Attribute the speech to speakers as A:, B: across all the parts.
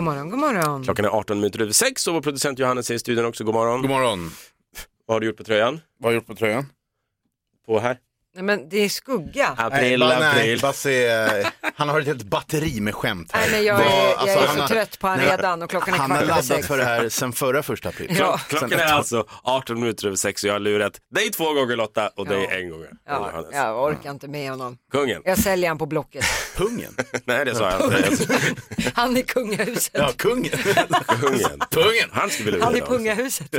A: God morgon, god morgon.
B: Klockan är 18 minuter över 6 och vår producent Johannes är i studion också. God morgon.
C: God morgon.
B: Vad har du gjort på tröjan?
C: Vad har jag gjort på tröjan?
B: På här?
A: Nej, men det är skugga.
B: April,
C: nej, bara-
B: april.
C: Nej, Basse, han har ett helt batteri med skämt här.
A: Nej, men jag är,
C: Vad-
A: jag
C: alltså,
A: är
C: han
A: så
C: har-
A: trött på han
C: nej,
A: redan och klockan är
C: Han har
A: kvart över
C: laddat
A: sex.
C: för det här sen förra första april.
A: Ja.
B: Klockan
C: Sen-
B: är alltså 18 minuter över 6 och jag har lurat dig två gånger Lotta och dig
A: Ja.
B: en gång.
A: Ja,
B: Johannes.
A: jag orkar inte med honom.
B: Kungen.
A: Jag säljer han på Blocket.
C: Pungen.
B: Nej, det sa jag inte.
A: Han är kungahuset.
C: Ja, kungen.
B: Kungen.
C: Pungen.
B: Han skulle vilja
A: Han är
B: lura oss.
A: pungahuset.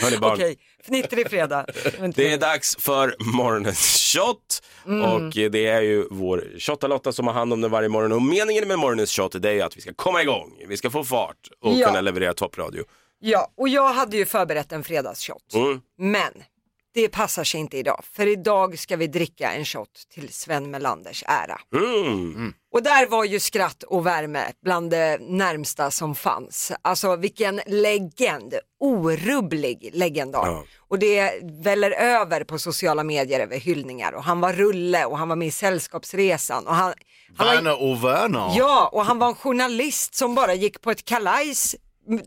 B: Hörni barn,
A: Okej, fnittrig fredag.
B: det är dags för morgonens shot.
A: Mm.
B: Och eh, det är ju vår shotta-Lotta som har hand om den varje morgon. Och meningen med morgonens shot det är ju att vi ska komma igång, vi ska få fart och
A: Ja.
B: kunna leverera toppradio.
A: Ja, och jag hade ju förberett en fredagsshot.
B: Mm.
A: Men det passar sig inte idag. För idag ska vi dricka en shot till Sven Melanders ära.
B: Mm.
A: Och där var ju skratt och värme bland det närmsta som fanns. Alltså vilken legend, orubblig legendar.
B: Ja.
A: Och det väller över på sociala medier över hyllningar och han var rulle och han var med i Sällskapsresan och han, han var,
C: Werner och Werner.
A: ja, och han var en journalist som bara gick på ett kalajs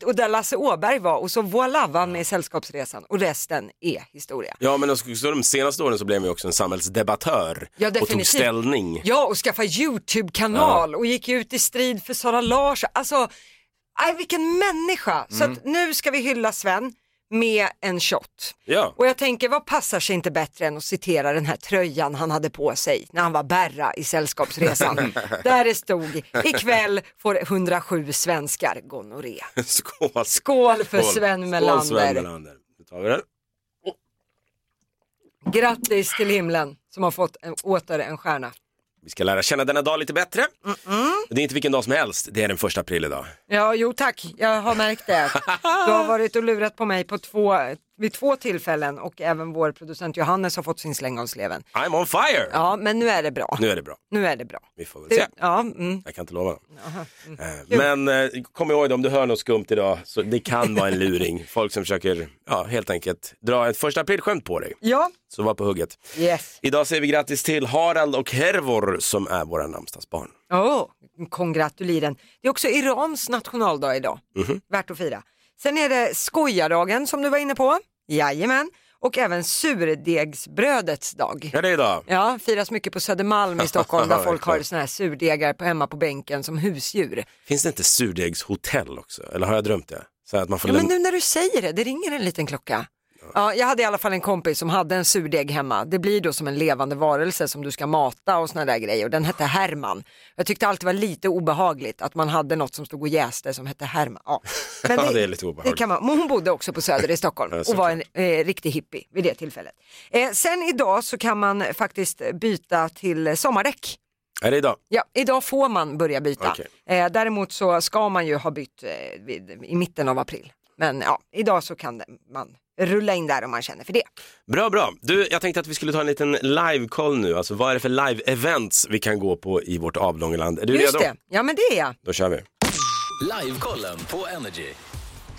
A: och där Lasse Åberg var och så voilà var han med i Sällskapsresan och resten är historia.
B: Ja, men också de senaste åren så blev man ju också en samhällsdebattör
A: Ja,
B: och tog
A: definitivt.
B: ställning.
A: Ja, och skaffa YouTube-kanal och gick ut i strid för Sara Larsson. Alltså, aj, vilken människa! Så att
B: Mm.
A: nu ska vi hylla Sven med en shot.
B: Ja.
A: Och jag tänker, vad passar sig inte bättre än att citera den här tröjan han hade på sig när han var Berra i Sällskapsresan. Där det stod, ikväll får 107 svenskar gonorré.
B: Skål!
A: Skål för
B: Skål.
A: Sven
B: Skål, Sven
A: Melander.
B: Melander. Nu tar vi den.
A: Grattis till himlen som har fått en, åter en stjärna.
B: Vi ska lära känna denna dag lite bättre. Det är inte vilken dag som helst, det är den första april idag.
A: Ja, jo tack. Jag har märkt det. Du har varit och lurat på mig på två, vid två tillfällen och även vår producent Johannes har fått sin släng av sleven.
B: I'm on fire!
A: Ja, men nu är det bra.
B: Nu är det bra.
A: Nu är det Mm. bra.
B: Vi får väl
A: Du,
B: se.
A: ja, mm.
B: Jag kan inte lova något. Eh, Men eh, kom ihåg det, om du hör något skumt idag, så det kan vara en luring. Folk som försöker, ja helt enkelt, dra ett första aprilskämt på dig.
A: ja,
B: Så var på hugget.
A: yes.
B: Idag säger vi grattis till Harald och Hervor som är våra namnsdagsbarn.
A: Oh, kongratuliren. Det är också Irans nationaldag idag. Värt att fira. Sen är det skojardagen som du var inne på. Jajamän. Och även surdegsbrödets dag.
B: Ja, det är idag.
A: Ja, firas mycket på Södermalm i Stockholm där folk har såna här surdegar på, hemma på bänken som husdjur.
B: Finns det inte surdegshotell också? Eller har jag drömt det? Så att man får
A: Ja, men
B: lämna-
A: nu när du säger det, det ringer en liten klocka. Ja, jag hade i alla fall en kompis som hade en surdeg hemma. Det blir då som en levande varelse som du ska mata och såna där grejer. Och den hette Herman. Jag tyckte alltid var lite obehagligt att man hade något som stod och jäste som hette Herman. Ja. Men
B: Ja, det är lite obehagligt.
A: det kan man. Men hon bodde också på Söder i Stockholm och var en eh, riktig hippie vid det tillfället. Eh, sen idag så kan man faktiskt byta till sommardäck.
B: Är det idag?
A: Ja, idag får man börja byta.
B: Okej.
A: Eh, däremot så ska man ju ha bytt eh, vid, i mitten av april. Men ja, idag så kan det, man rulla in där om man känner för det.
B: Bra, bra. Du, jag tänkte att vi skulle ta en liten live-koll nu. Alltså vad är det för live-events vi kan gå på i vårt avlånga land? Är du
A: Just
B: redo?
A: det, ja men det är jag.
B: Då kör vi.
D: Livekollen på Energy.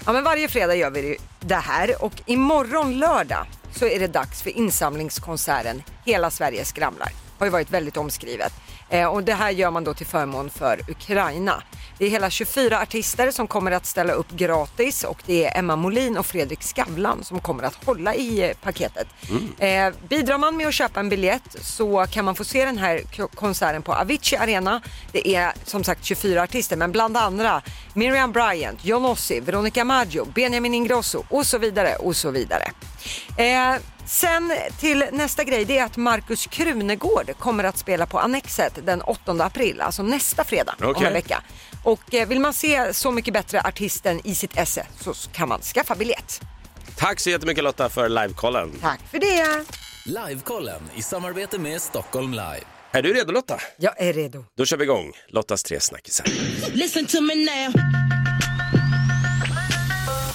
A: Ja men varje fredag gör vi ju det här och imorgon lördag så är det dags för insamlingskonserten Hela Sverige skramlar. Har ju varit väldigt omskrivet. Eh, och det här gör man då till förmån för Ukraina. Det är hela 24 artister som kommer att ställa upp gratis och det är Emma Molin och Fredrik Skavlan som kommer att hålla i eh, paketet. Eh, bidrar man med att köpa en biljett så kan man få se den här k- konserten på Avicii Arena. Det är som sagt 24 artister men bland andra Miriam Bryant, John Ossi, Veronica Maggio, Benjamin Ingrosso och så vidare och så vidare. Eh, sen till nästa grej, det är att Markus Krunegård kommer att spela på Annexet den 8 april, alltså nästa fredag om
B: Okej.
A: en vecka. Och eh, vill man se Så mycket bättre artisten i sitt esse så kan man skaffa biljett.
B: Tack så jättemycket Lotta för live-kollen.
A: Tack för det!
D: Livekollen i samarbete med Stockholm Live.
B: Är du redo Lotta?
A: Jag är redo.
B: Då kör vi igång Lottas tre snackisar.
E: Listen to me now.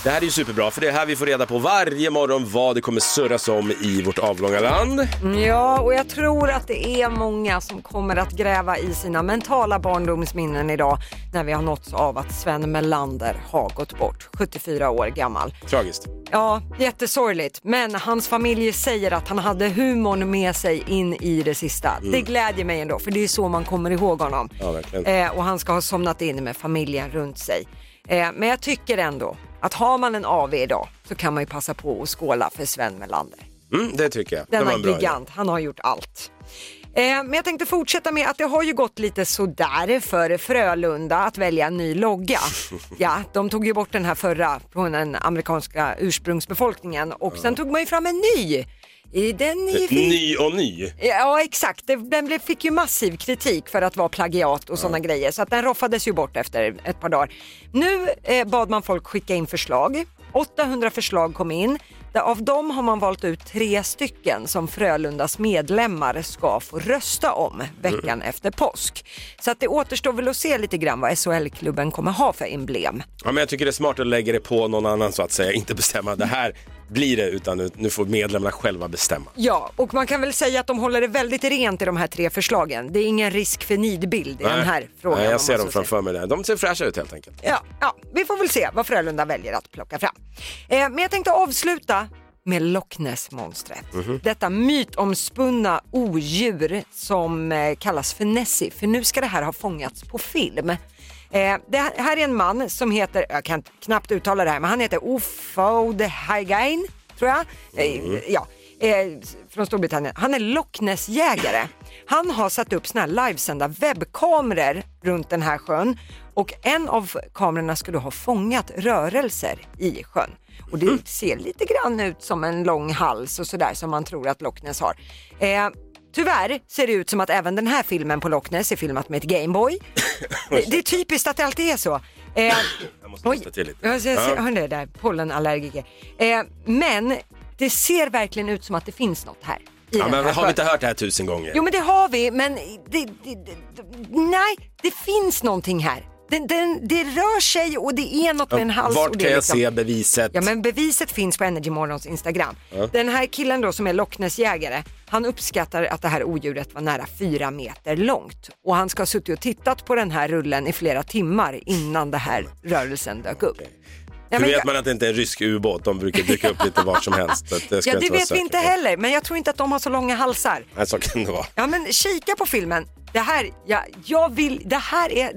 B: Det här är ju superbra, för det är här vi får reda på varje morgon vad det kommer surras om i vårt avlånga land.
A: Mm, Ja, och jag tror att det är många som kommer att gräva i sina mentala barndomsminnen idag när vi har nåtts av att Sven Melander har gått bort, 74 år gammal.
B: Tragiskt.
A: Ja, jättesorgligt, men hans familj säger att han hade humorn med sig in i det sista. Det glädjer mig ändå, för det är så man kommer ihåg honom.
B: Mm. Ja, verkligen.
A: Eh, och han ska ha somnat in med familjen runt sig. Eh, men jag tycker ändå att har man en AV idag så kan man ju passa på att skåla för Sven Melander.
B: Mm, det tycker jag.
A: Denna
B: det var en bra idé.
A: gigant, han har gjort allt. Eh, men jag tänkte fortsätta med att det har ju gått lite sådär för Frölunda att välja en ny logga. Ja, de tog ju bort den här förra från den amerikanska ursprungsbefolkningen och sen tog man ju fram en ny. I den i
B: Ny och ny.
A: Ja exakt, Det- den blev- fick ju massiv kritik för att vara plagiat och sådana grejer så att den roffades ju bort efter ett par dagar. Nu eh, bad man folk skicka in förslag. 800 förslag kom in. Där Av dem har man valt ut tre stycken som Frölundas medlemmar ska få rösta om veckan efter påsk. Så att det återstår väl att se lite grann vad SHL-klubben kommer ha för emblem.
B: Ja, men jag tycker det är smart att lägga det på någon annan så att säga. Inte bestämma det här blir det, utan nu- nu får medlemmarna själva bestämma.
A: Ja, och man kan väl säga att de håller det väldigt rent i de här tre förslagen. Det är ingen risk för nidbild i den här frågan. om
B: Nej,
A: man
B: jag ser
A: så
B: dem framför mig där. De ser fräscha ut helt enkelt.
A: Ja, ja, vi får väl se vad Frölunda väljer att plocka fram. Eh, men jag tänkte avsluta med Loch Ness-monstret. Detta mytomspunna odjur som eh, kallas för Nessie, för nu ska det här ha fångats på film. Eh, det här- här är en man som heter, jag kan knappt uttala det här, men han heter Ofaud Hagain, tror jag. Eh, ja, eh, från Storbritannien. Han är Loch Ness-jägare. Han har satt upp såna här livesända webbkameror runt den här sjön och en av kamerorna skulle ha fångat rörelser i sjön. Och
B: Mm.
A: det ser lite grann ut som en lång hals och sådär som man tror att Loch Ness har. Eh, Tyvärr ser det ut som att även den här filmen på Loch Ness är filmat med ett Gameboy. Det, det är typiskt att det alltid är så. Eh,
B: Jag måste hosta till lite.
A: Ja, så jag ser,
B: Ja.
A: hör ni det där, pollenallergiker. Eh, men det ser verkligen ut som att det finns något här. i
B: Ja,
A: den
B: men
A: här
B: har vi
A: sjön.
B: inte hört det här tusen gånger?
A: Jo men det har vi, men det, det, det, nej, det finns någonting här. Den, den, det rör sig och det är något med en hals. och
B: Vart
A: det
B: kan
A: är
B: jag
A: liksom-
B: se beviset?
A: Ja men beviset finns på Energymorgons Instagram. Den här killen då som är Loch Ness-jägare, han uppskattar att det här odjuret var nära fyra meter långt. Och han ska ha suttit och tittat på den här rullen i flera timmar innan den här rörelsen dök upp. Ja,
B: Hur
A: men
B: vet
A: jag-
B: man att det inte är en rysk ubåt? De brukar dyka upp lite var som helst. Så att jag ska
A: Ja det
B: inte vara
A: vet vi
B: säker
A: inte
B: på.
A: heller, men jag tror inte att de har så långa halsar.
B: Nej, så kan det vara.
A: Ja men kika på filmen. Det här, ja, jag vill, det här är,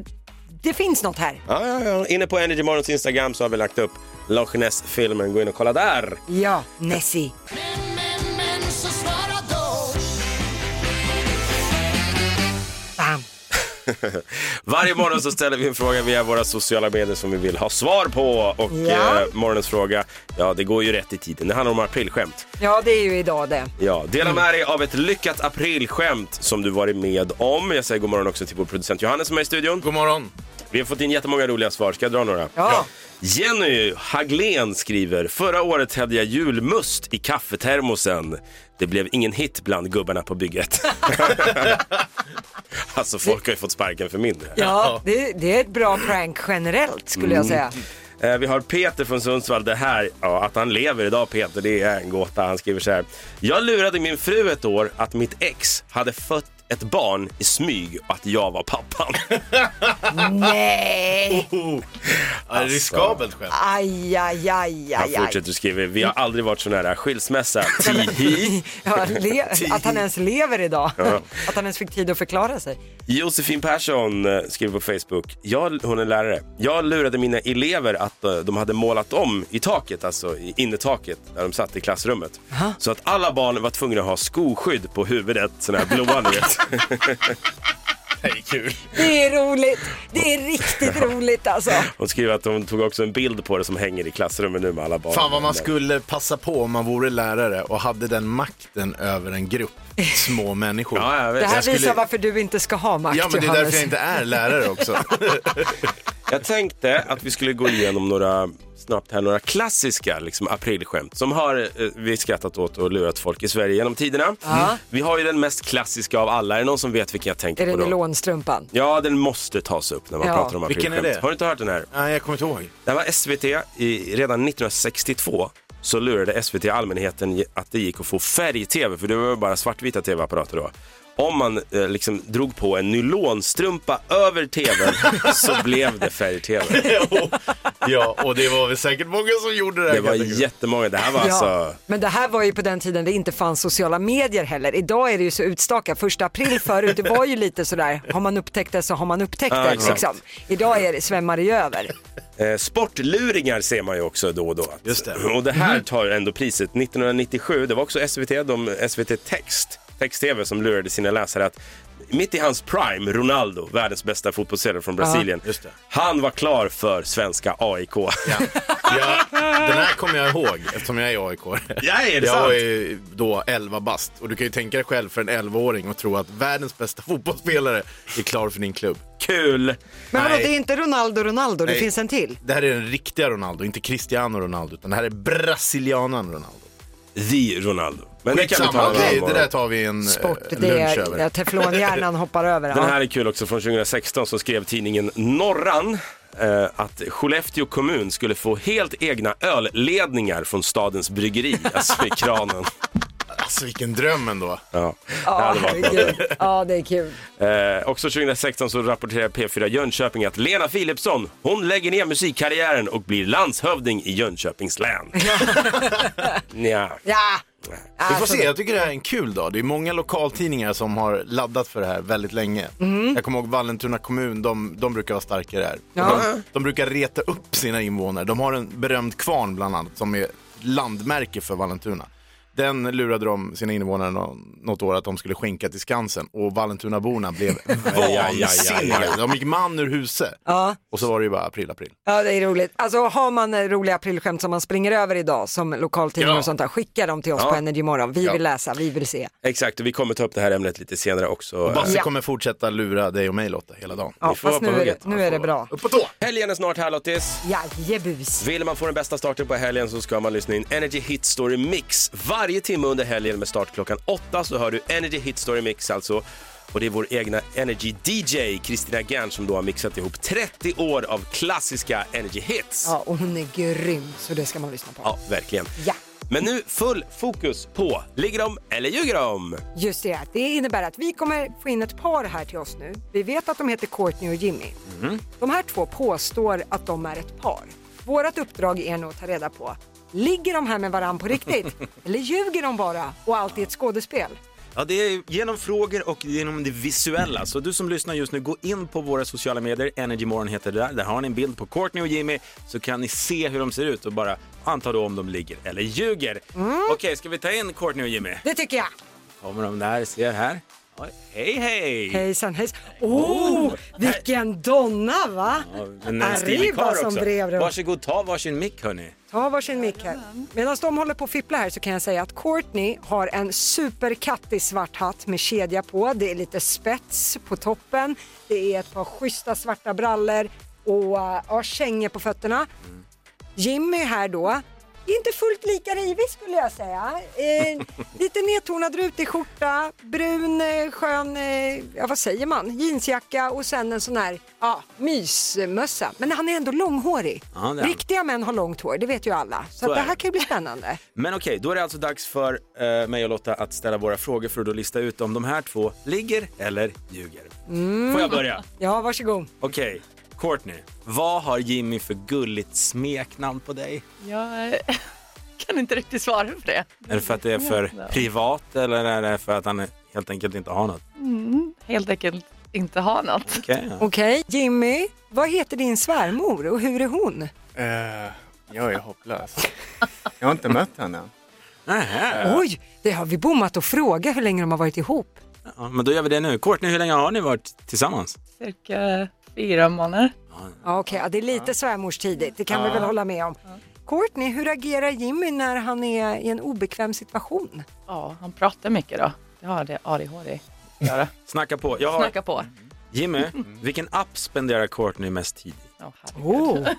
A: det finns något här.
B: Ja, ja, ja. Inne på Energy Morgons Instagram så har vi lagt upp Loch Ness-filmen. Gå in och kolla där.
A: Ja, Nessie.
E: Men, men, men, så svara då.
A: Bam.
B: Varje morgon så ställer vi en fråga via våra sociala medier som vi vill ha svar på. Och
A: Ja.
B: eh, morgonens fråga, ja det går ju rätt i tiden. Det handlar om aprilskämt.
A: Ja det är ju idag det.
B: Ja, dela
A: Mm.
B: med dig av ett lyckat aprilskämt som du varit med om. Jag säger god morgon också till vår producent Johannes som är i studion.
C: God morgon.
B: Vi har fått in jättemånga roliga svar. Ska jag dra några?
A: Ja.
B: Jenny Haglén skriver, förra året hade jag julmust i kaffetermosen. Det blev ingen hit bland gubbarna på bygget. alltså folk har ju fått sparken för mindre.
A: Ja, det, det är ett bra prank generellt skulle jag säga.
B: Eh, Vi har Peter från Sundsvall. Det här, ja, att han lever idag Peter, det är en gåta. Han skriver så här. Jag lurade min fru ett år att mitt ex hade fött ett barn i smyg och att jag var pappan.
A: Nej!
C: Ja, det är riskabelt skämt.
A: Aj, aj, aj,
B: Han
A: aj, aj.
B: fortsätter och skriver. Vi har aldrig varit så nära skilsmässa. Tihi.
A: Ja, le- att han ens lever idag. Att han ens fick tid att förklara sig.
B: Josefin Persson eh, skriver på Facebook. Jag, hon är lärare. Jag lurade mina elever att eh, de hade målat om i taket, alltså i innertaket där de satt i klassrummet. Så att alla barn var tvungna att ha skoskydd på huvudet, sådana här blåa ni vet.
C: Det är kul.
A: Det är roligt. Det är riktigt roligt alltså.
B: Hon skriver att hon tog också en bild på det som hänger i klassrummet nu med alla barn.
C: Fan vad man skulle passa på om man vore lärare och hade den makten över en grupp små människor.
B: Ja, jag vet.
A: Det här
C: skulle-
A: visar varför du inte ska ha makt
C: Ja, men det är
A: Johannes.
C: därför jag inte är lärare också.
B: Jag tänkte att vi skulle gå igenom några snabbt här, några klassiska liksom, aprilskämt som har eh, vi skrattat åt och lurat folk i Sverige genom tiderna. Mm.
A: Ja.
B: Vi har ju den mest klassiska av alla. Är det någon som vet vilken jag tänker
A: Är det
B: på då?
A: nylonstrumpan?
B: Ja, den måste tas upp när man
A: Ja.
B: pratar om
C: Vilken är
B: aprilskämt.
C: det?
B: Har du inte hört den här?
C: Nej, jag kommer inte ihåg.
B: Det här var SVT. I, redan 1962 så lurade SVT allmänheten ge- att det gick att få färg-tv, för det var ju bara svartvita tv-apparater då. Om man eh, liksom drog på en nylonstrumpa över tvn så blev det färg-tv.
C: ja, och det var väl säkert många som gjorde det. här,
B: Det var
C: kan jag tänka mig.
B: jättemånga. Det här var
A: Ja,
B: alltså...
A: men det här var ju på den tiden det inte fanns sociala medier heller. Idag är det ju så utstakat. Första april förut, det var ju lite sådär, har man upptäckt det så har man upptäckt
B: Ja,
A: det.
B: exakt.
A: Liksom. Idag är det, svämmar det ju över.
B: Eh, sportluringar ser man ju också då och då. Att,
C: Just det.
B: Och det här tar ändå priset. 1997, det var också SVT, de, SVT Text, Text-TV som lurade sina läsare att mitt i hans prime, Ronaldo, världens bästa fotbollsspelare från Brasilien,
C: just det.
B: han var klar för svenska AIK.
C: Ja, den här kommer jag ihåg eftersom jag är AIK.
B: Ja, är det
C: jag
B: sant?
C: var ju då 11 bast och du kan ju tänka dig själv för en 11-åring och tro att världens bästa fotbollsspelare är klar för din klubb.
B: Kul!
A: Men vadå,
C: Nej.
A: det är inte Ronaldo Ronaldo, det
C: Nej.
A: finns en till.
B: Eh,
C: Det här är den riktiga Ronaldo, inte Cristiano Ronaldo, utan det här är brasilianan Ronaldo.
B: The Ronaldo. Men det kan vi
C: Skitsamma,
B: ta en annan
C: okej,
B: gång.
C: det där tar vi en
A: Sport,
C: eh,
A: det
C: lunch
A: är,
C: över.
A: ja, teflonhjärnan hoppar över.
B: Den
A: ja.
B: här är kul också, från 2016 så skrev tidningen Norran eh, att Skellefteå kommun skulle få helt egna ölledningar från stadens bryggeri, alltså i kranen.
C: Alltså vilken dröm ändå.
B: Ja, det
A: Ja,
B: hade varit något.
A: herregud. ja, det är kul.
B: Eh, också 2016 så rapporterade P4 Jönköping att Lena Philipsson, hon lägger ner musikkarriären och blir landshövding i Jönköpings län. Nja.
A: Ja. Alltså,
C: Vi får se, jag tycker det här är en kul dag. Det är många lokaltidningar som har laddat för det här väldigt länge. Jag kommer ihåg Vallentuna kommun, de, de brukar vara starka där.
A: Ja.
C: De, de brukar reta upp sina invånare. De har en berömd kvarn bland annat som är landmärke för Vallentuna. Den lurade de sina invånare nå- något år att de skulle skänka till Skansen och Vallentunaborna blev vansinniga. De gick man ur huset. Och så var det ju bara april, april.
A: Ja, det är roligt. Alltså har man eh, roliga aprilskämt som man springer över idag som lokaltidningar
C: Ja.
A: och sånt där, skicka dem till oss
B: Ja.
A: på Energy Morgon. Vi
B: Ja.
A: vill läsa, vi vill se.
B: Exakt, och vi kommer ta upp det här ämnet lite senare också.
C: Och Basse
A: Ja.
C: kommer fortsätta lura dig och mig Lotta hela dagen.
A: Ja,
B: får
A: fast
B: vara på
A: nu är, det,
B: hugget.
A: nu är det bra.
C: Upp på tå!
B: Helgen är snart här Lottis.
A: Jajebus.
B: Vill man få den bästa starten på helgen så ska man lyssna in Energy Hit Story Mix. Varje timme under helgen med start klockan åtta så hör du Energy Hit Story Mix alltså. Och det är vår egna Energy DJ Kristina Gern som då har mixat ihop 30 år av klassiska Energy Hits. Ja,
A: Ja, och hon är grym, så det ska man lyssna på.
B: verkligen.
A: Ja.
B: Men nu full fokus på Ligger de eller ljuger de?
A: Just det, det innebär att vi kommer få in ett par här till oss nu. Vi vet att de heter Courtney och Jimmy.
F: Mhm.
A: De här två påstår att de är ett par. Vårt uppdrag är nog att ta reda på, ligger de här med varandra på riktigt? Eller ljuger de bara och allt är ett skådespel?
F: Ja, det är genom frågor och genom det visuella. Så du som lyssnar just nu, gå in på våra sociala medier. Energymorgon heter det där. Där har ni en bild på Courtney och Jimmy så kan ni se hur de ser ut och bara anta då om de ligger eller ljuger. Okej, ska vi ta in Courtney och Jimmy?
A: Det tycker jag.
F: Kommer de där, ser här. Oj, Hej, hej!
A: Hejsan hejsan. Åh, oh, vilken donna va?
F: Ja, men en stilig
A: Arriba
F: karl
A: som
F: också.
A: brev runt.
F: Varsågod, ta varsin mick hörni.
A: Ta varsin mick här. Medan de håller på och fipplar här så kan jag säga att Courtney har en superkattig svart hatt med kedja på. Det är lite spets på toppen. Det är ett par schyssta svarta brallor och eh, ja, kängor på fötterna. Jimmy här då. Inte fullt lika rivig skulle jag säga. Eh, lite nedtonad rutig skjorta, brun eh, skön, eh, ja vad säger man, jeansjacka och sen en sån här ja, mysmössa. Men han är ändå långhårig.
F: Ja, det är han.
A: Riktiga män har långt hår, det vet ju alla. Så, att
F: är
A: det här
F: det.
A: kan ju bli spännande.
F: Men okej, då är det alltså dags för eh, mig och Lotta att ställa våra frågor för att då lista ut om de här två ligger eller ljuger. Får jag börja?
A: Ja, varsågod.
F: Okej, Courtney. Vad har Jimmy för gulligt smeknamn på dig?
G: Jag eh, kan inte riktigt svara på det.
F: Är det för att det är för privat eller är det för att han helt enkelt inte har något?
G: Helt enkelt inte ha något.
F: Okej. ja.
A: Okej, Jimmy, vad heter din svärmor och hur är hon?
H: jag är hopplös. Jag har inte mött henne än.
F: Nähä.
A: Oj, det har vi bommat att fråga hur länge de har varit ihop.
F: Ja, men då gör vi det nu. Courtney, hur länge har ni varit tillsammans?
G: Cirka fyra månader.
A: Ja, okej, ja, det är lite svärmorstidigt, det kan vi väl hålla med om. Courtney, hur agerar Jimmy när han är i en obekväm situation?
G: Ja, han pratar mycket då. Det har det ADHD att göra.
F: Snacka på. Jag har...
G: Snacka på.
F: Jimmy, vilken app spenderar Courtney mest tid i?
G: Åh, herregud.
A: Oh,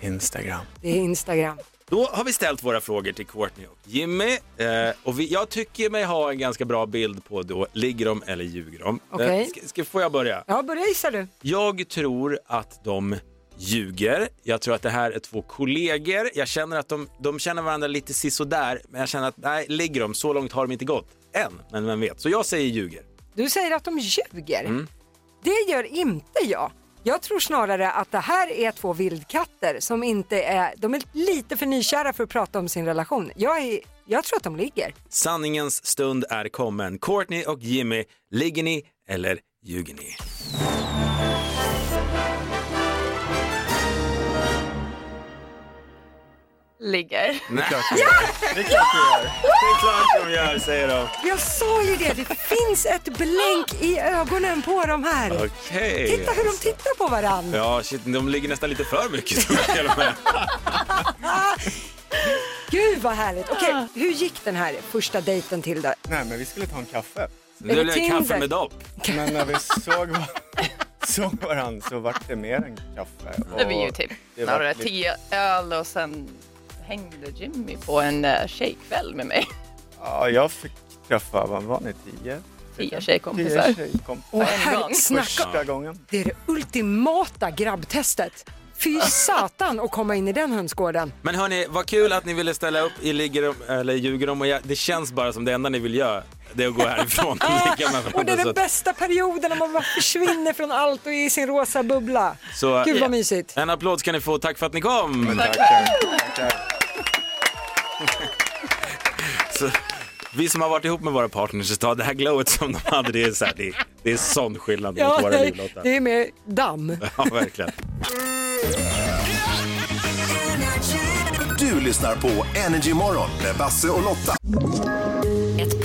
H: Instagram.
A: det är Instagram.
F: Då har vi ställt våra frågor till Courtney och Jimmy. Eh, och vi, jag tycker mig ha en ganska bra bild på då, ligger de eller ljuger de? Eh,
A: Okej.
F: ska, ska, får jag börja?
A: Ja, börja gissa du.
F: Jag tror att de ljuger. Jag tror att det här är två kollegor. Jag känner att de, de känner varandra lite sisådär, men jag känner att nej, ligger de? Så långt har de inte gått. Än, men vem vet. Så jag säger ljuger.
A: Du säger att de ljuger.
F: Mm.
A: Det gör inte jag. Jag tror snarare att det här är två vildkatter som inte är, de är lite för nykära för att prata om sin relation. Jag, är, jag tror att de ligger.
F: Sanningens stund är kommen. Courtney och Jimmy, ligger ni eller ljuger ni?
G: Ligger.
F: Det är klart de gör. Det är klart de gör, säger de.
A: Jag sa ju det, det finns ett blänk i ögonen på de här.
F: Okej.
A: Titta hur de tittar på varandra.
F: Ja, shit, de ligger nästan lite för mycket. tror jag till och med.
A: Gud vad härligt. Okej, hur gick den här första dejten till då?
H: Nej, men vi skulle ta en kaffe.
F: Nu blir det
A: Tinder?
F: kaffe med dopp.
H: Men när vi såg, var- såg varandra så vart det mer än kaffe.
G: Det blir ju typ
H: det var
G: några
H: lite-
G: tio öl och sen hängde Jimmy på en eh, tjejkväll med mig.
H: Ja, jag fick träffa, vad var ni, tio?
G: Tio
H: Tio
G: tjejkompisar.
H: tjejkompisar.
A: Åh,
G: en
A: här-
G: gång.
A: snacka,
H: Första gången.
A: det är det ultimata grabbtestet. Fy satan att komma in i den hönsgården.
F: Men hörni, vad kul att ni ville ställa upp i Ligger de, eller Ljuger de och jag, det känns bara som det enda ni vill göra, det är att gå härifrån. och ligga med varandra.
A: Och det är
F: Så
A: den
F: att-
A: bästa perioden när man bara försvinner från allt och är i sin rosa bubbla.
F: så, eh,
A: Gud
F: ja.
A: vad mysigt.
F: En applåd ska ni få, tack för att ni kom!
H: Tackar. Tackar.
F: Så, vi som har varit ihop med våra partners ett tag, det här glowet som de hade, det är, så här, det, det är sån skillnad mot våra liv
A: det,
F: Lotta.
A: det är med damm.
F: Ja, verkligen.
I: Du lyssnar på Energy Morgon med Basse och Lotta.
J: Ett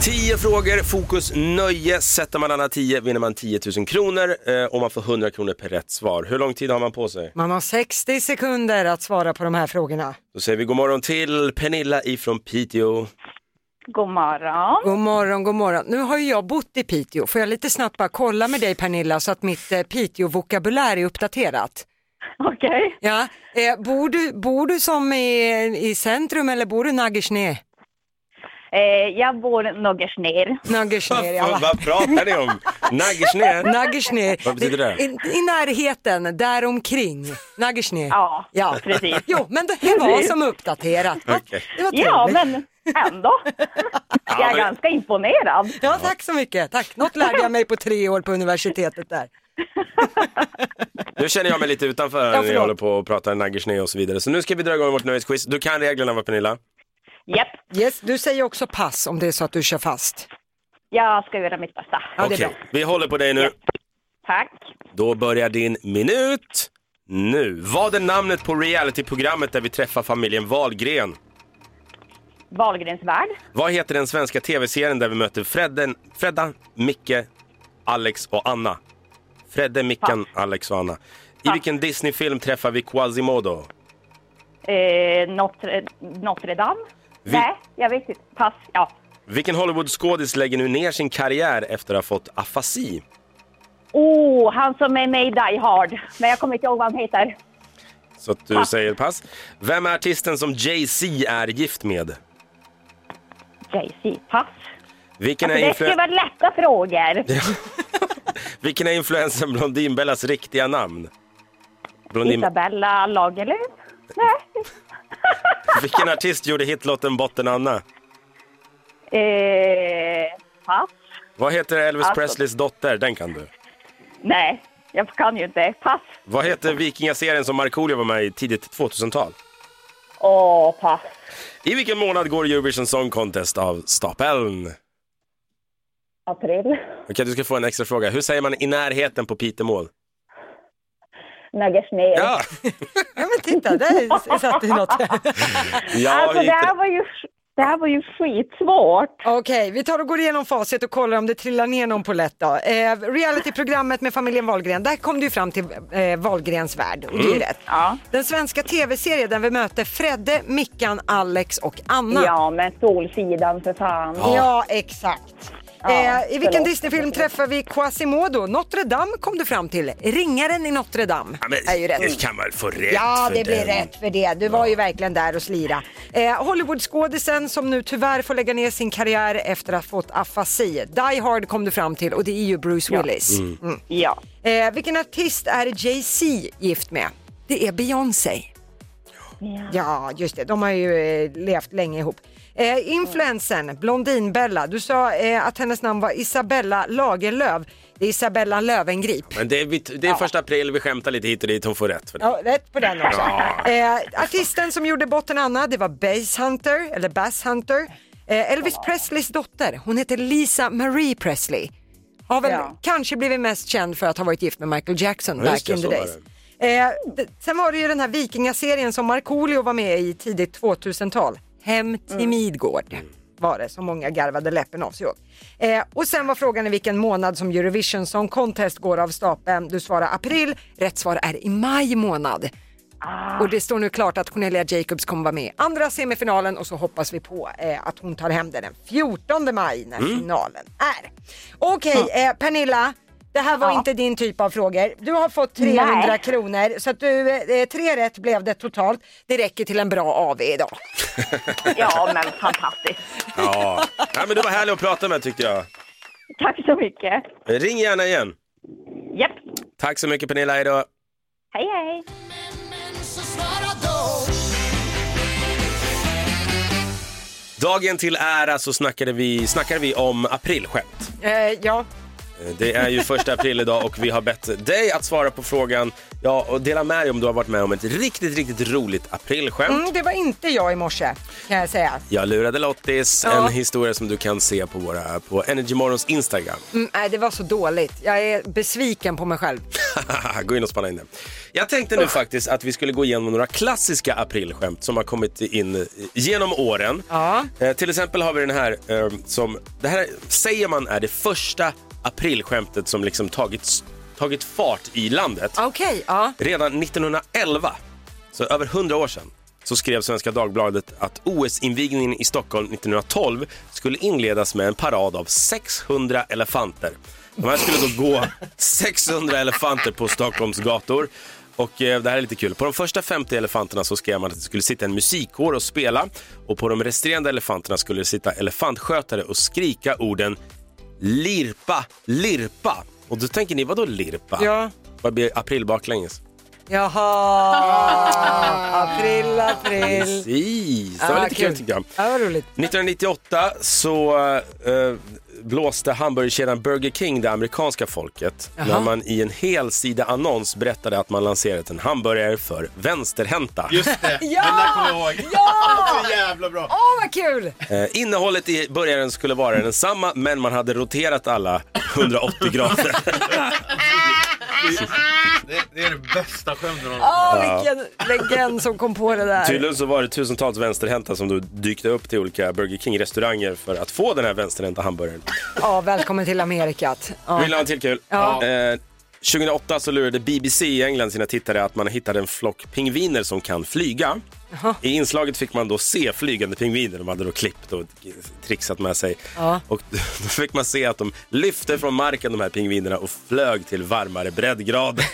B: Tio frågor, fokus nöje. Sätter man alla tio vinner man 10 000 kronor eh, och man får 100 kronor per rätt svar. Hur lång tid har man på sig?
A: Man har 60 sekunder att svara på de här frågorna.
B: Då säger vi god morgon till Pernilla ifrån Piteå.
K: God morgon.
A: God morgon, god morgon. Nu har ju jag bott i Piteå. Får jag lite snabbt bara kolla med dig Pernilla så att mitt eh, Piteå-vokabulär är uppdaterat?
K: Okej.
A: Ja. Eh, bor, du, bor du som i, i centrum eller bor du Naggersne?
K: Eh, jag bor någers ner.
A: Naggersne, ja.
B: Vad, vad pratar ni om? Naggersne?
A: Naggersne.
B: Vad betyder det?
A: I, I närheten, däromkring. Naggersne.
K: Ja,
A: Ja.
K: precis.
A: Jo, men det här var som uppdaterat. Va?
B: Okej.
A: Det var trevligt.
K: Ja, men ändå. Jag är
B: men-
K: ganska imponerad.
A: Ja, tack så mycket. Tack. Något lärde jag mig på tre år på universitetet där.
B: Nu känner jag mig lite utanför
A: Ja,
B: när jag
A: förlåt.
B: håller på och pratar Naggersne och så vidare. Så nu ska vi dra igång vårt nöjesquiz. Du kan reglerna va Pernilla?
K: Japp,
A: Yes, du säger också pass om det är så att du kör fast.
K: jag ska göra mitt bästa.
A: Ja, det är
B: Okej,
A: bra.
B: vi håller på dig nu.
K: Tack.
B: Då börjar din minut nu. Vad är namnet på realityprogrammet där vi träffar familjen Wahlgren?
K: Wahlgrens värld.
B: Vad heter den svenska tv-serien där vi möter Fredden, Fredda, Micke, Alex och Anna? Fredde, Mickan, Alex och Anna. I vilken Disney-film träffar vi Quasimodo?
K: Eh, Notre, Notre Dame.
B: Vi-
K: Nej, jag vet inte. Pass. Ja.
B: Vilken Hollywood-skådis lägger nu ner sin karriär efter att ha fått afasi?
K: Oh, han som är med i Die Hard. Men jag kommer inte ihåg vad han heter.
B: Så att du
K: Ah.
B: säger pass. Vem är artisten som Jay-Z är gift med?
K: Jay-Z. Pass.
B: Vilken är,
K: Alltså, det ska
B: influ-
K: vara lätta frågor.
B: vilken är influensen Blondinbellas riktiga namn? Blondin...
K: Isabella Lagerlöf. Nej.
B: Vilken artist gjorde hitlåten Botten Anna?
K: Eh, pass.
B: Vad heter Elvis
K: Alltså.
B: Presleys dotter? Den kan du.
K: Nej, jag kan ju inte. Pass.
B: Vad heter vikingaserien som Markoolio var med i tidigt 2000-tal?
K: Åh, pass.
B: I vilken månad går Eurovision Song Contest av stapeln?
K: April.
B: Okej, du ska få en extra fråga. Hur säger man i närheten på Pitemål?
K: Naggers ner.
B: Ja,
A: Ja men titta, där satt det något.
B: ja
K: alltså, det,
B: lite.
K: här var ju, det här var ju skitsvårt.
A: Okej, vi tar och går igenom facit och kollar om det trillar ner någon på lätt då. Eh, realityprogrammet med familjen Wahlgren, där kom du ju fram till eh, Wahlgrens värld och det är ju
K: Mm.
A: rätt. Den svenska tv-serien där vi möter Fredde, Mickan, Alex och Anna.
K: Ja, men Solsidan för fan.
A: Ja, exakt. eh, I vilken Disneyfilm träffar vi Quasimodo? Notre Dame kom du fram till. Ringaren i Notre Dame
B: Ja, men
A: är ju rätt.
B: Det kan man få rätt
A: Ja,
B: för
A: det blir
B: den.
A: rätt för det. Du var ju verkligen där och slira. Eh, Hollywoodskådisen som nu tyvärr får lägga ner sin karriär efter att ha fått afasi. Die Hard kom du fram till och det är ju Bruce Willis.
E: Mm.
A: Ja. Eh, vilken artist är Jay-Z gift med? Det är Beyoncé. Ja. just det. De har ju eh, levt länge ihop. Eh, influensen, Blondinbella. Du sa eh, att hennes namn var Isabella Lagerlöf. Det är Isabella Lövengrip.
B: Men det är, vi- det är första april, vi skämtar lite hit och dit. Hon får rätt för det.
A: Ja, rätt på den också.
B: Ja.
A: Eh, artisten som gjorde Botten Anna, det var Bass Hunter, eller Bass Hunter. Eh, Elvis Presleys dotter, hon heter Lisa Marie Presley. Har väl
K: Ja.
A: kanske blivit mest känd för att ha varit gift med Michael Jackson
K: Ja, just
A: back
K: det,
A: in the
K: så var
A: days. Eh, d- sen var det ju den här vikingaserien som Markoolio var med i tidigt 2000-tal. Hem till
K: Mm.
A: Midgård var det som många garvade läppen av sig åt. Eh, och sen var frågan i vilken månad som Eurovision Song Contest går av stapeln. Du svarar april, rätt svar är i maj månad. Och det står nu klart att Cornelia Jacobs kommer vara med i andra semifinalen och så hoppas vi på eh, att hon tar hem den den 14 maj när
E: Mm.
A: finalen är. Okej, eh, Pernilla. Det här var
K: Ja.
A: inte din typ av frågor. Du har fått 300
K: Nej.
A: kronor så att du, eh, tre rätt blev det totalt. Det räcker till en bra AV idag.
K: Ja, men fantastiskt.
B: Ja. ja, men du var härlig att prata med tyckte jag.
K: Tack så mycket.
B: Ring gärna igen.
K: Japp.
B: Tack så mycket Pernilla, hejdå.
K: Hej, hej.
B: Dagen till ära så snackade vi, snackade vi om aprilskämt.
A: Eh, ja.
B: Eh, Det är ju första april idag och vi har bett dig att svara på frågan ja, och dela med dig om du har varit med om ett riktigt, riktigt roligt aprilskämt.
A: Mm, det var inte jag i morse kan jag säga.
B: Jag lurade Lottis,
A: Ja.
B: en historia som du kan se på, våra, på Energy Morgons Instagram.
A: Mm, nej, det var så dåligt. Jag är besviken på mig själv.
B: gå in och spana in den. Jag tänkte nu faktiskt att vi skulle gå igenom några klassiska aprilskämt som har kommit in eh, genom åren. Eh, till exempel har vi den här eh, som, det här säger man är det första aprilskämtet som liksom tagit, tagit fart i landet.
A: Okej, ja.
B: Redan 1911, så över 100 år sedan, så skrev Svenska Dagbladet att OS-invigningen i Stockholm 1912 skulle inledas med en parad av 600 elefanter. De här skulle då gå 600 elefanter på Stockholms gator. Och eh, det här är lite kul. På de första 50 elefanterna så skrev man att det skulle sitta en musikkår och spela och på de resterande elefanterna skulle det sitta elefantskötare och skrika orden lirpa, lirpa. Och då tänker ni, vadå lirpa?
A: Ja.
B: Vad blir april baklänges?
A: Jaha, april, april.
B: Precis, det var
A: Ah,
B: lite kul
A: kul.
B: tyckte jag.
A: Ja, vad roligt.
B: 1998 så eh, blåste hamburgerkedjan Burger King det amerikanska folket
A: Jaha.
B: när man i en helsida annons berättade att man lanserat en hamburgare för vänsterhänta. Just det.
A: Ja!
E: Den där kommer
A: jag ihåg. Ja! Så jävla bra. Åh, vad kul!
B: Eh, innehållet i burgaren skulle vara densamma men man hade roterat alla 180 grader.
H: Det, det är det bästa skämtet någon
A: Åh,
B: Ja.
A: vilken legend som kom på det där.
B: Tydligen så var det tusentals vänsterhänta som då dykte upp till olika Burger King-restauranger för att få den här vänsterhänta hamburgaren.
A: Ja, välkommen till Amerikat. Ja.
B: Vill du ha en till kul?
A: Ja.
B: Eh, 2008 så lurade BBC i England sina tittare att man hittade en flock pingviner som kan flyga. I inslaget fick man då se flygande pingviner. De hade då klippt och trixat med sig.
A: Ja.
B: Och då fick man se att de lyfte från marken de här pingvinerna och flög till varmare breddgrader.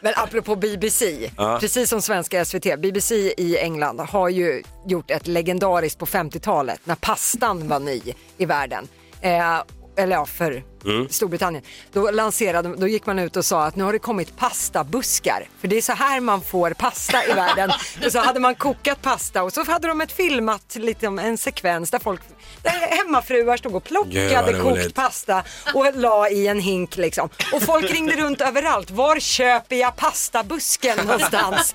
A: Men apropå BBC,
B: Ja.
A: precis som svenska SVT, BBC i England har ju gjort ett legendariskt på 50-talet när pastan var ny i världen. Eh, eller ja, för
B: Mm.
A: Storbritannien, då, lanserade, då gick man ut och sa att nu har det kommit pastabuskar. För det är så här man får pasta i världen. och så hade man kokat pasta och så hade de ett filmat, liksom, en sekvens där folk, där hemmafruar stod och
B: Gud, vad
A: plockade
B: roligt.
A: kokt pasta och la i en hink liksom. Och folk ringde runt överallt. Var köper jag pastabusken någonstans?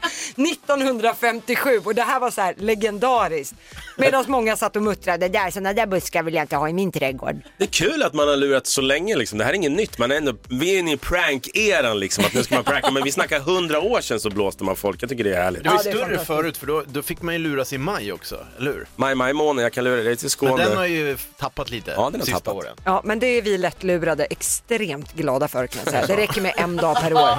A: 1957 och det här var så här legendariskt. Medan många satt och muttrade, där sådana där buskar vill jag inte ha i min trädgård.
B: Det är kul att man har lurat så länge liksom. Det här är inget nytt. Man är ändå, vi är inne i prank-eran liksom. Att nu ska man pranka. Men vi snackar hundra år sedan så blåste man folk. Jag tycker det är härligt.
C: Det var ju större förut, för då, då fick man ju luras i maj också, eller hur?
B: Maj, maj måne, jag kan lura dig till Skåne.
C: Men den har ju tappat lite
B: Ja, den har
C: sista
B: tappat.
C: åren.
A: Ja, men det är vi lättlurade extremt glada för kan jag säga. Det räcker med en dag per år.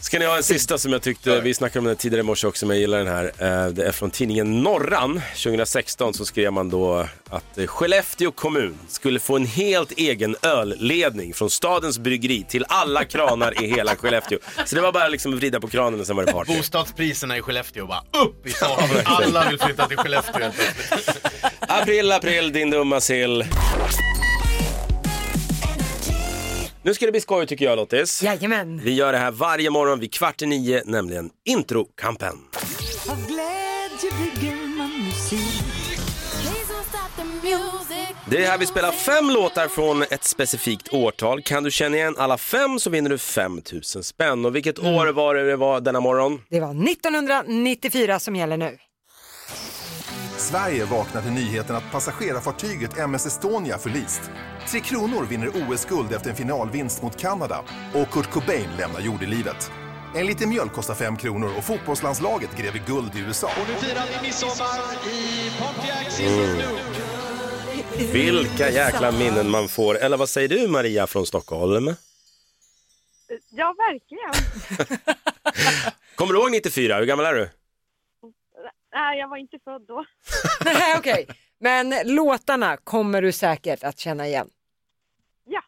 B: Ska ni ha en sista som jag tyckte, vi snackade om den tidigare i morse också, men jag gillar den här. Eh, Det är från tidningen Norran. 2016 så skrev man då att eh, Skellefteå kommun skulle få en helt egen ölledning från stadens bryggeri till alla kranar i hela Skellefteå. Så det var bara liksom att vrida på kranen och sen var det party.
C: Bostadspriserna i Skellefteå bara upp i taket. Alla vill flytta till Skellefteå helt plötsligt.
B: April, april, din dumma sill. Nu ska det bli skoj tycker jag Lottis.
A: Jajamän.
B: Vi gör det här varje morgon vid kvart i nio, nämligen introkampen.
E: Av glädje bygger man musik.
B: Det är här vi spelar fem låtar från ett specifikt årtal. Kan du känna igen alla fem så vinner du 5000 spänn. Och vilket
L: Mm.
B: år var det det var denna morgon?
A: Det var 1994 som gäller nu.
M: Sverige vaknar till nyheten att passagerarfartyget MS Estonia förlist. Tre Kronor vinner OS-guld efter en finalvinst mot Kanada och Kurt Cobain lämnar jordelivet. En liten mjölk kostar 5 kronor och fotbollslandslaget gräver guld i USA.
E: Firar vi midsommar i Pontiac
B: Vilka jäkla minnen man får. Eller vad säger du Maria från Stockholm?
L: Ja, verkligen.
B: Kommer du ihåg 94? Hur gammal är du?
L: Nej, jag var inte född då.
A: Nej, okej. Men låtarna kommer du säkert att känna igen.
L: Ja.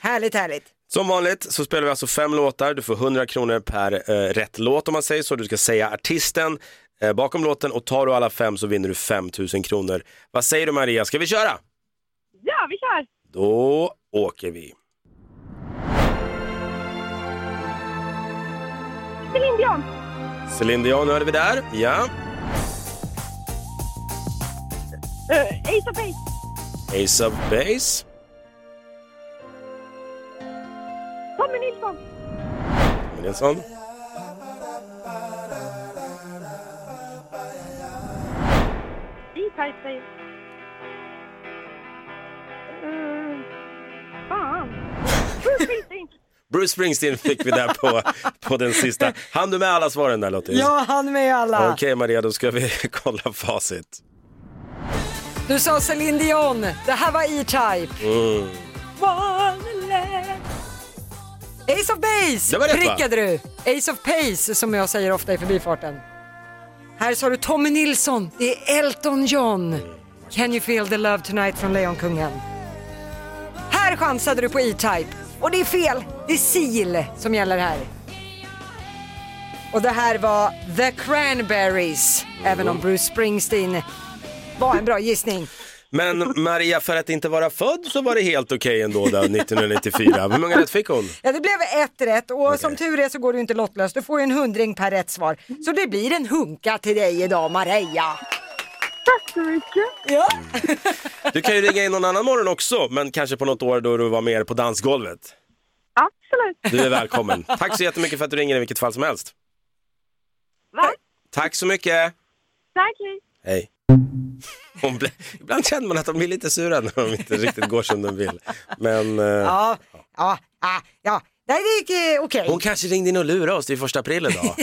A: Härligt, härligt.
B: Som vanligt så spelar vi alltså fem låtar. Du får 100 kronor per eh, rätt låt om man säger så. Du ska säga artisten eh, bakom låten och tar du alla fem så vinner du 5000 kronor. Vad säger du Maria, ska vi köra?
L: Ja, vi kör!
B: Då åker vi.
L: Céline Dion.
B: Céline Dion hörde vi där. Ja.
L: Eh, Ace of Base.
B: Ace of Base.
L: Tommy Nilsson.
B: Tommy Nilsson.
L: E-Type säger uh, Fan. Bruce Springsteen.
B: Bruce Springsteen fick vi där på, på den sista. Hann du med alla svaren där Lottis?
A: Ja, han med alla.
B: Okej Maria, då ska vi kolla facit.
A: Du sa Céline Dion, det här var E-Type.
B: Mm.
A: Wonderland. Ace of Base
B: Det var rätt, va?
A: prickade du. Ace of Pace som jag säger ofta i förbifarten. Här sa du Tommy Nilsson, det är Elton John. Can you feel the love tonight från Lejonkungen. Här chansade du på E-Type och det är fel. Det är Seal som gäller här. Och det här var The Cranberries, även
B: Mm.
A: om Bruce Springsteen var en bra gissning.
B: Men Maria, för att inte vara född så var det helt okej ändå där 1994. Hur många rätt fick hon?
A: Ja, det blev ett rätt och som tur är så går du inte lottlös. Du får ju en hundring per rätt svar. Så det blir en hunka till dig idag, Maria. Tack så mycket. Ja.
B: Du kan ju ringa in någon annan morgon också, men kanske på något år då du var mer på dansgolvet. Absolut. Du är välkommen. Tack så jättemycket för att du ringer i vilket fall som helst.
L: Va?
B: Tack så mycket.
L: Tack, hej.
B: Hej. Hon blir- ibland känner man att de blir lite sura när de inte riktigt går som de vill. Men eh,
A: Ja, ja, ja, ja. Nej, det gick eh, okej.
B: hon kanske ringde in och lurade oss till första april idag.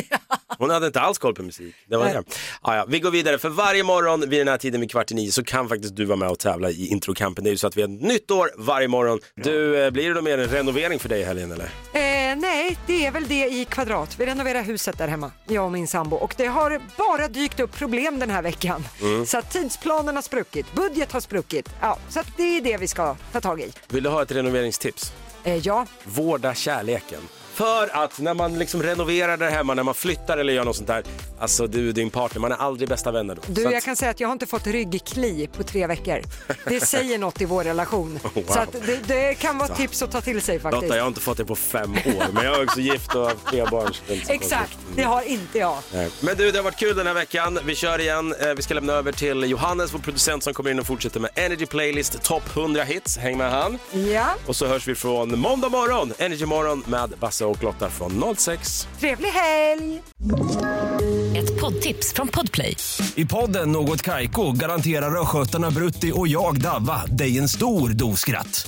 B: Hon hade inte alls koll på musik. Det var
A: Nej.
B: det. Ja, ja, vi går vidare, för varje morgon vid den här tiden vid kvart i nio så kan faktiskt du vara med och tävla i introkampen. Det är ju så att vi har ett nytt år varje morgon. Du, eh, blir det då mer en renovering för dig i helgen eller?
A: Eh, nej, det är väl det i kvadrat. Vi renoverar huset där hemma, jag och min sambo. Och det har bara dykt upp problem den här veckan.
B: Mm.
A: Så att tidsplanen har spruckit, budget har spruckit. Ja, så att det är det vi ska ta tag i.
B: Vill du ha ett renoveringstips?
A: Eh, ja.
B: Vårda kärleken. För att när man liksom renoverar där hemma, när man flyttar eller gör något sånt där, Alltså du och din partner, man är aldrig bästa vänner då.
A: Du,
B: Så att-
A: jag kan säga att jag har inte fått ryggkli på tre veckor. Det säger något i vår relation.
B: Wow.
A: Så att det, det kan vara
B: Så.
A: ett tips att ta till sig faktiskt.
B: Lotta, jag har inte fått det på fem år, men jag är också gift och har tre barn. så det är inte så
A: Exakt,
B: konstigt.
A: det har inte jag.
B: Nej. Men du, det har varit kul den här veckan. Vi kör igen. Eh, Vi ska lämna över till Johannes, vår producent, som kommer in och fortsätter med Energy Playlist Top 100 hits. Häng med han.
A: Ja,
B: Och så hörs vi från måndag morgon, Energy Morgon med Basse och Lotta från 06.
A: trevlig helg!
J: Ett poddtips från Podplay.
F: I podden Något Kaiko garanterar östgötarna Brutti och jag, Davva, dig en stor dos skratt.